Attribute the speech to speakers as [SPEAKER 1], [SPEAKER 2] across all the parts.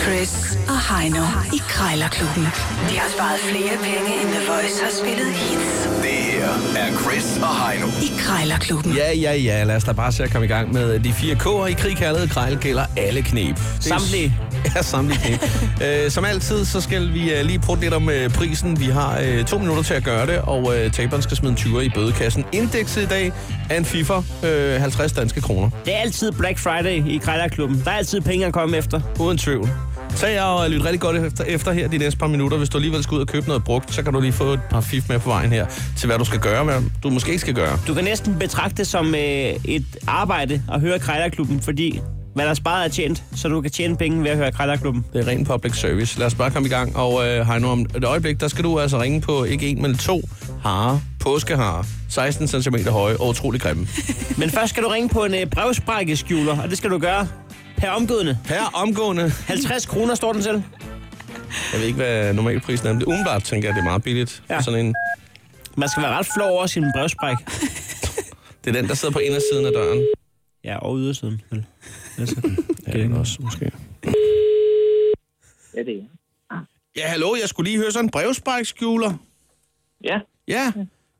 [SPEAKER 1] Chris og Heino i Krejlerklubben. De har sparet flere penge, end The Voice har spillet hits
[SPEAKER 2] Det her er Chris og Heino.
[SPEAKER 1] i Krejlerklubben.
[SPEAKER 3] Ja, ja, ja. Lad os da bare se at komme i gang med de fire K'er i krig, kærlighed, krejl, gælder alle knep. Det er-
[SPEAKER 4] Samtlige.
[SPEAKER 3] Ja, samtlige knep. øh, som altid, så skal vi øh, lige prøve lidt om øh, prisen. Vi har øh, to minutter til at gøre det, og øh, taberen skal smide en 20 i bødekassen. Indekset i dag er en FIFA, øh, 50 danske kroner.
[SPEAKER 4] Det er altid Black Friday i Krejlerklubben. Der er altid penge at komme efter.
[SPEAKER 3] Uden tvivl. Tag og lyt rigtig godt efter, efter her de næste par minutter. Hvis du alligevel skal ud og købe noget brugt, så kan du lige få et par fif med på vejen her til, hvad du skal gøre, hvad du måske ikke skal gøre.
[SPEAKER 4] Du kan næsten betragte det som øh, et arbejde at høre Krejlerklubben, fordi hvad der er sparet er tjent, så du kan tjene penge ved at høre Krejlerklubben.
[SPEAKER 3] Det er ren public service. Lad os bare komme i gang. Og øh, Heino, om et øjeblik, der skal du altså ringe på ikke en, men to harer. Påskeharer. 16 cm høje og utrolig grimme.
[SPEAKER 4] Men først skal du ringe på en øh, brevsprækkeskjuler, og det skal du gøre per omgående.
[SPEAKER 3] Her omgående.
[SPEAKER 4] 50 kroner står den til.
[SPEAKER 3] Jeg ved ikke, hvad normalprisen er, men det umiddelbart tænker jeg, det er meget billigt. Ja.
[SPEAKER 4] Ja.
[SPEAKER 3] Sådan en,
[SPEAKER 4] Man skal være ret flov over sin brevspræk.
[SPEAKER 3] det er den, der sidder på indersiden af døren.
[SPEAKER 4] Ja, og ydersiden. vel? Altså,
[SPEAKER 3] Ja, den også, måske.
[SPEAKER 5] Ja, det er.
[SPEAKER 3] Ja, hallo, jeg skulle lige høre sådan en brevsprækskjuler.
[SPEAKER 5] Ja,
[SPEAKER 3] Ja.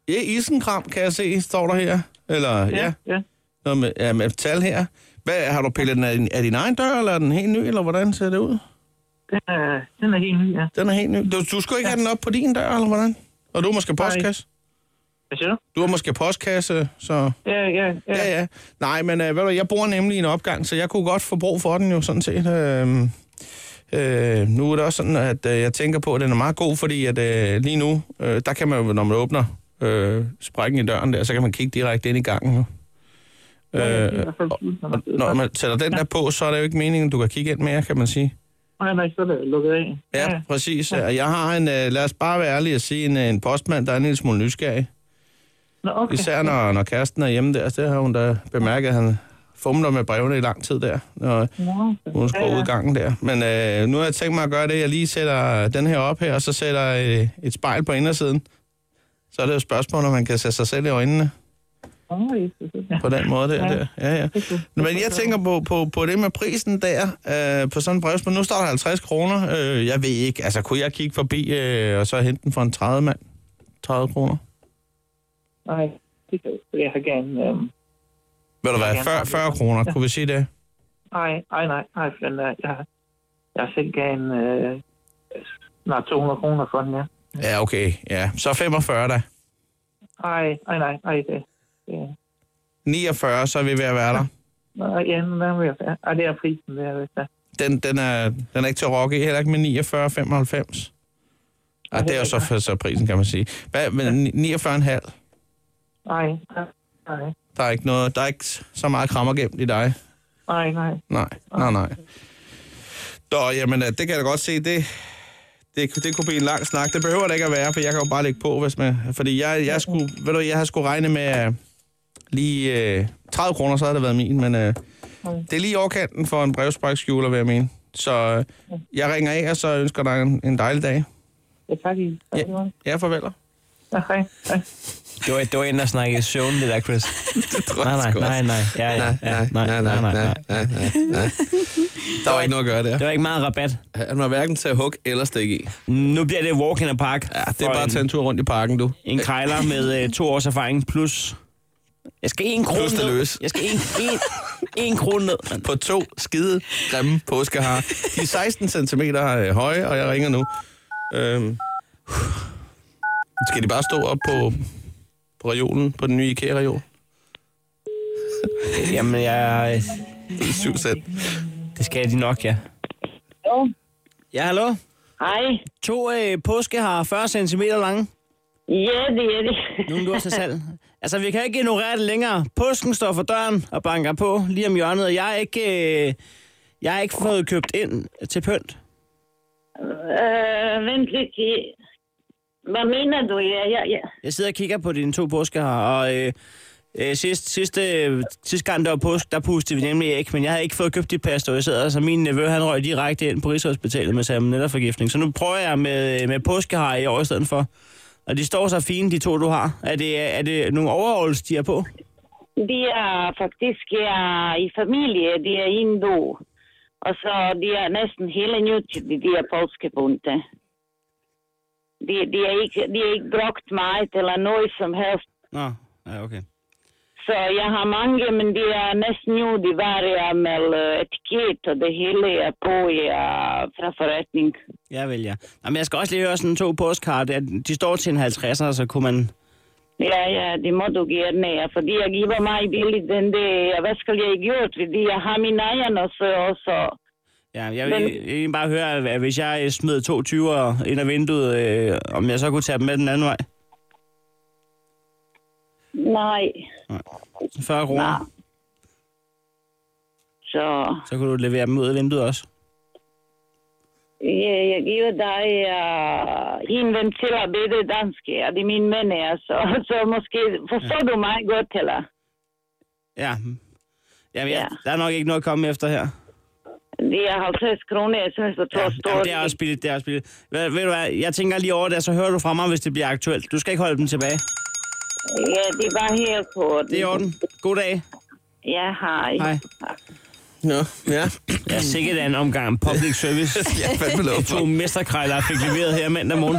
[SPEAKER 3] Ja, isenkram, kan jeg se, står der her. Eller, ja. ja.
[SPEAKER 5] ja.
[SPEAKER 3] Nå, med, ja, med tal her. Hvad, har du pillet den af din, af din egen dør, eller er den helt ny, eller hvordan ser det ud?
[SPEAKER 5] Den er, den er helt ny, ja.
[SPEAKER 3] Den er helt ny. Du, du skulle ikke ja. have den op på din dør, eller hvordan? Og du er måske postkasse?
[SPEAKER 5] Hvad siger du?
[SPEAKER 3] Du er måske postkasse, så...
[SPEAKER 5] Ja, ja, ja.
[SPEAKER 3] Ja, ja. Nej, men øh, ved du, hvad, jeg bor nemlig i en opgang, så jeg kunne godt få brug for den jo sådan set. Øh, øh, nu er det også sådan, at øh, jeg tænker på, at den er meget god, fordi at øh, lige nu, øh, der kan man jo, når man åbner øh, sprækken i døren der, så kan man kigge direkte ind i gangen jo.
[SPEAKER 5] ja det er i
[SPEAKER 3] Øh,
[SPEAKER 5] hvert fald fint, når man sidder
[SPEAKER 3] når
[SPEAKER 5] der.
[SPEAKER 3] man sætter den der på, så er det jo ikke meningen, du kan kigge ind mere, kan man sige.
[SPEAKER 5] Nej, nej, så er det lukket af.
[SPEAKER 3] Ja, præcis. Og jeg har en, øh, lad os bare være ærlige og sige, en, øh, en postmand, der er en lille smule nysgerrig.
[SPEAKER 5] Nå, okay.
[SPEAKER 3] Især når, når kæresten er hjemme der, så det har hun da bemærket, at han fumler med brevene i lang tid der, når
[SPEAKER 5] Nå,
[SPEAKER 3] hun
[SPEAKER 5] Ja,
[SPEAKER 3] skal
[SPEAKER 5] ja.
[SPEAKER 3] ud i gangen der. Men øh, nu har jeg tænkt mig at gøre det, jeg lige sætter den her op her, og så sætter øh, et spejl på indersiden. Så er det jo et spørgsmål, om man kan sætte sig selv i øjnene
[SPEAKER 5] Nå, Jesus, ja.
[SPEAKER 3] på den måde der.
[SPEAKER 5] Ja.
[SPEAKER 3] der. Ja, ja. Men jeg tænker på, på, på det med prisen der, øh, på sådan en brevspil. Nu står der 50 kroner. Øh, jeg ved ikke, altså kunne jeg kigge forbi øh, og så hente den for en 30 mand? 30 kroner?
[SPEAKER 5] Nej, det kan jeg har gerne... Øhm,
[SPEAKER 3] Ved du
[SPEAKER 5] Ja,
[SPEAKER 3] hvad,
[SPEAKER 5] ja.
[SPEAKER 3] 40, 40 kroner, kunne vi sige det?
[SPEAKER 5] nej, nej, nej, nej, for den er, jeg, jeg selv gav en... Øh, snart 200 kroner for den, ja.
[SPEAKER 3] Ja, okay. Ja. Så 45 da.
[SPEAKER 5] Nej, nej, nej, nej, det... det
[SPEAKER 3] 49, så er vi ved at være der.
[SPEAKER 5] nej, ja, nu nærmer jeg mig. Ej, det er prisen, det er, hvis der.
[SPEAKER 3] Den, den, er, den er ikke til at rokke, i, heller ikke med 49, 95. Ej, det er jo så, så prisen, kan man sige. Hvad, men 49,5?
[SPEAKER 5] Nej, nej, nej,
[SPEAKER 3] Der er ikke, noget, der er ikke så meget krammer gemt i dig.
[SPEAKER 5] nej, nej.
[SPEAKER 3] Nej, nej, nej. Nå, jamen, øh, det kan jeg da godt se. Det, det, det kunne blive en lang snak. Det behøver det ikke at være, for jeg kan jo bare lægge på, hvis man... Fordi jeg, jeg, skulle, ved du, jeg har skulle regne med øh, lige øh, 30 kroner, så havde det været min, men øh, det er lige i overkanten for en brevsprækskjuler, vil jeg mene. Så øh, jeg ringer af, og så ønsker dig en, en dejlig dag.
[SPEAKER 5] Jeg tager lige... Ja.
[SPEAKER 3] Ja, farveler.
[SPEAKER 5] Ja, hej, hej.
[SPEAKER 4] Det var, det var en, der snakkede i søvn, det der, Chris. Nej, nej, nej, nej. Ja, ja, ja,
[SPEAKER 3] nej, nej. Der var ikke noget at gøre der.
[SPEAKER 4] Det var ikke meget rabat.
[SPEAKER 3] Han var hverken til at hugge eller stikke i.
[SPEAKER 4] Nu bliver det walk in the park.
[SPEAKER 3] Ja, det
[SPEAKER 4] for
[SPEAKER 3] er bare at tage
[SPEAKER 4] en,
[SPEAKER 3] en tur rundt i parken, du.
[SPEAKER 4] en krejler med øh, to års erfaring plus... Jeg skal en krone
[SPEAKER 3] Plus det
[SPEAKER 4] ned.
[SPEAKER 3] løs.
[SPEAKER 4] Jeg skal en, en, en krone ned. mand.
[SPEAKER 3] på to skide grimme påskeharer. De er 16 cm høje, og jeg ringer nu. Øhm. Skal de bare stå op på, på reolen, på den nye IKEA-reol?
[SPEAKER 4] Jamen, jeg,
[SPEAKER 3] 7 cent.
[SPEAKER 4] det skal de nok, ja.
[SPEAKER 6] Jo.
[SPEAKER 4] Ja, hallo?
[SPEAKER 6] Hej.
[SPEAKER 4] To øh, påske har 40 cm lange.
[SPEAKER 6] Ja, det er det.
[SPEAKER 4] Nogle du har til salg. Altså, vi kan ikke ignorere det længere. Påsken står for døren og banker på lige om hjørnet, og jeg er ikke, øh, jeg er ikke fået købt ind til pynt.
[SPEAKER 6] Øh, vent lidt. I- Hvad mener du? Ja, ja, ja.
[SPEAKER 4] Jeg sidder og kigger på dine to påsker her, og øh, øh, sidst, sidste, sidste gang, der var påske, der pustede vi nemlig æg, men jeg havde ikke fået købt de pasteuriseret, så min nevø, han røg direkte ind på Rigshospitalet med salmonella-forgiftning. Så nu prøver jeg med, med påskehar i år i stedet for. Og de står så fine, de to, du har. Er det, er det nogle overholds, de er på?
[SPEAKER 6] De er faktisk ja, i familie. De er indo. Og så de er næsten hele nyttigt, de der polske bunte. De, de, er ikke, de er ikke brugt meget eller noget som helst.
[SPEAKER 4] Nå, ja, okay.
[SPEAKER 6] Så jeg har mange, men de er næsten nu, de varer med øh, etiket, og det hele er på i øh, fra forretning.
[SPEAKER 4] Jeg vil, ja. Nå, men jeg skal også lige høre sådan to postkort. at De står til en 50'er, så kunne man...
[SPEAKER 6] Ja, ja, det må du gerne, ja, fordi jeg giver mig billigt den der, hvad skal jeg gøre, fordi jeg har min egen også, også.
[SPEAKER 4] Ja, jeg vil jeg vil egentlig bare høre, at- at hvis jeg øh, smed to 20'ere ind ad vinduet, øh, om jeg så kunne tage dem med den anden vej.
[SPEAKER 6] Nej,
[SPEAKER 4] 40
[SPEAKER 6] nej.
[SPEAKER 4] kroner.
[SPEAKER 6] Så
[SPEAKER 4] Så kunne du levere dem ud af vinduet også.
[SPEAKER 6] ja, jeg giver dig uh, en ven til at bede dansk, ja, det er min ven, ja, så, så måske forstår du mig godt, eller?
[SPEAKER 4] Ja. Jamen,
[SPEAKER 6] Ja.
[SPEAKER 4] ja. der er nok ikke noget at komme efter her.
[SPEAKER 6] Det er 50 kroner, jeg synes, det er
[SPEAKER 4] Ja,
[SPEAKER 6] ja,
[SPEAKER 4] jamen,
[SPEAKER 6] stort.
[SPEAKER 4] det er også billigt, det er også billigt. Ved, ved du hvad, jeg tænker lige over det, så hører du fra mig, hvis det bliver aktuelt. Du skal ikke holde dem tilbage.
[SPEAKER 6] Ja, det er bare her på.
[SPEAKER 4] Det er i orden. God dag.
[SPEAKER 6] Ja, hej.
[SPEAKER 4] Hej.
[SPEAKER 3] Nå, ja.
[SPEAKER 4] Jeg er sikkert en omgang public service.
[SPEAKER 3] Jeg er fandme lov
[SPEAKER 4] To
[SPEAKER 3] for.
[SPEAKER 4] mesterkrejler fik leveret her mandag morgen.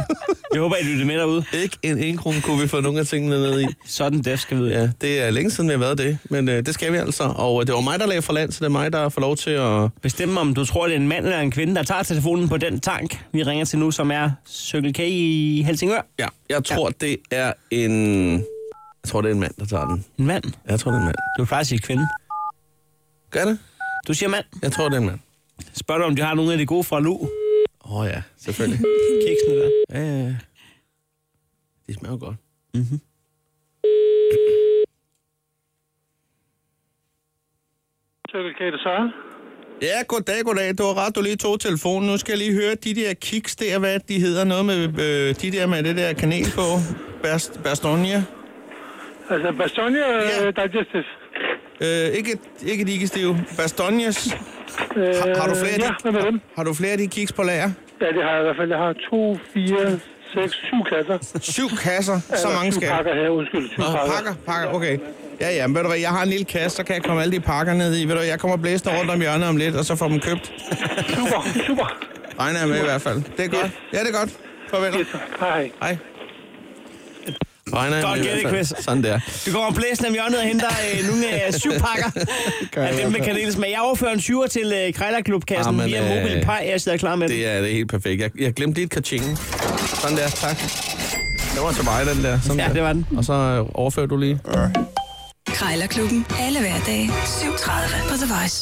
[SPEAKER 4] Jeg håber, I lytter med derude.
[SPEAKER 3] Ikke en indkrum kunne vi få nogle af tingene ned i.
[SPEAKER 4] Sådan det skal vi
[SPEAKER 3] Ja, det er længe siden, vi har været det, men øh, det skal vi altså. Og øh, det var mig, der lagde for land, så det er mig, der får lov til at...
[SPEAKER 4] Bestemme, om du tror, det er en mand eller en kvinde, der tager telefonen på den tank, vi ringer til nu, som er Circle K i Helsingør.
[SPEAKER 3] Ja, jeg tror, ja. det er en... Jeg tror, det er en mand, der tager den.
[SPEAKER 4] En mand.
[SPEAKER 3] Jeg tror, det er en mand.
[SPEAKER 4] Du plejer at sige kvinde.
[SPEAKER 3] Gør det?
[SPEAKER 4] Du siger mand.
[SPEAKER 3] Jeg tror, det er en mand.
[SPEAKER 4] Spørger du, om de har nogle af de gode fra Lu?
[SPEAKER 3] Åh oh, ja, selvfølgelig.
[SPEAKER 4] Kiksene der.
[SPEAKER 3] ja, ja, ja. Øh, Det smager godt.
[SPEAKER 5] Circle K, det Søren.
[SPEAKER 3] Ja, goddag, goddag. Du har ret, du lige tog telefonen. Nu skal jeg lige høre de der kiks der, hvad de hedder. Noget med øh, de der med det der kanel på. Bast, bastogne.
[SPEAKER 5] Altså, Bastogne
[SPEAKER 3] Ja.
[SPEAKER 5] ja. Digestive.
[SPEAKER 3] Øh, ikke, ikke digestive. Bastonjes. Har, har, du flere af
[SPEAKER 5] Øh, Ja,
[SPEAKER 3] de,
[SPEAKER 5] hvad med dem?
[SPEAKER 3] har du flere af de kiks på lager?
[SPEAKER 5] Ja, det har jeg i hvert fald. Jeg har to, fire, seks, syv kasser.
[SPEAKER 3] Syv kasser, så
[SPEAKER 5] Eller
[SPEAKER 3] mange
[SPEAKER 5] syv
[SPEAKER 3] skal jeg.
[SPEAKER 5] pakker her, undskyld. Syv
[SPEAKER 3] Nå, pakker, pakker, okay. Ja, ja, men ved du hvad, jeg har en lille kasse, så kan jeg komme alle de pakker ned i. Ved du hvad, jeg kommer blæsende rundt om hjørnet om lidt, og så får dem købt.
[SPEAKER 5] Super, super.
[SPEAKER 3] Regner jeg med i hvert fald. Det er godt. Ja, det er godt. Farvel.
[SPEAKER 5] Yes, hej.
[SPEAKER 3] Hej. Regner jeg
[SPEAKER 4] Godt
[SPEAKER 3] med i
[SPEAKER 4] gættet,
[SPEAKER 3] hvert fald.
[SPEAKER 4] Chris.
[SPEAKER 3] Sådan der.
[SPEAKER 4] Du kommer blæsende om hjørnet og henter øh, nogle øh, syv pakker
[SPEAKER 3] jeg
[SPEAKER 4] af
[SPEAKER 3] i
[SPEAKER 4] dem
[SPEAKER 3] hvert
[SPEAKER 4] med
[SPEAKER 3] fald.
[SPEAKER 4] kanelsmag. Jeg overfører en syver til øh, Krejlerklubkassen
[SPEAKER 3] Jamen,
[SPEAKER 4] via
[SPEAKER 3] øh,
[SPEAKER 4] mobil pej. Jeg sidder klar med det.
[SPEAKER 3] Det er, det er helt perfekt. Jeg, jeg glemte lige et kaching. Sådan der, tak. Det var til mig, den der. Sådan
[SPEAKER 4] Ja,
[SPEAKER 3] der.
[SPEAKER 4] det var den.
[SPEAKER 3] Og så øh, overfører du lige.
[SPEAKER 1] Krejlerklubben. Alle hverdage. 7.30 på The Voice.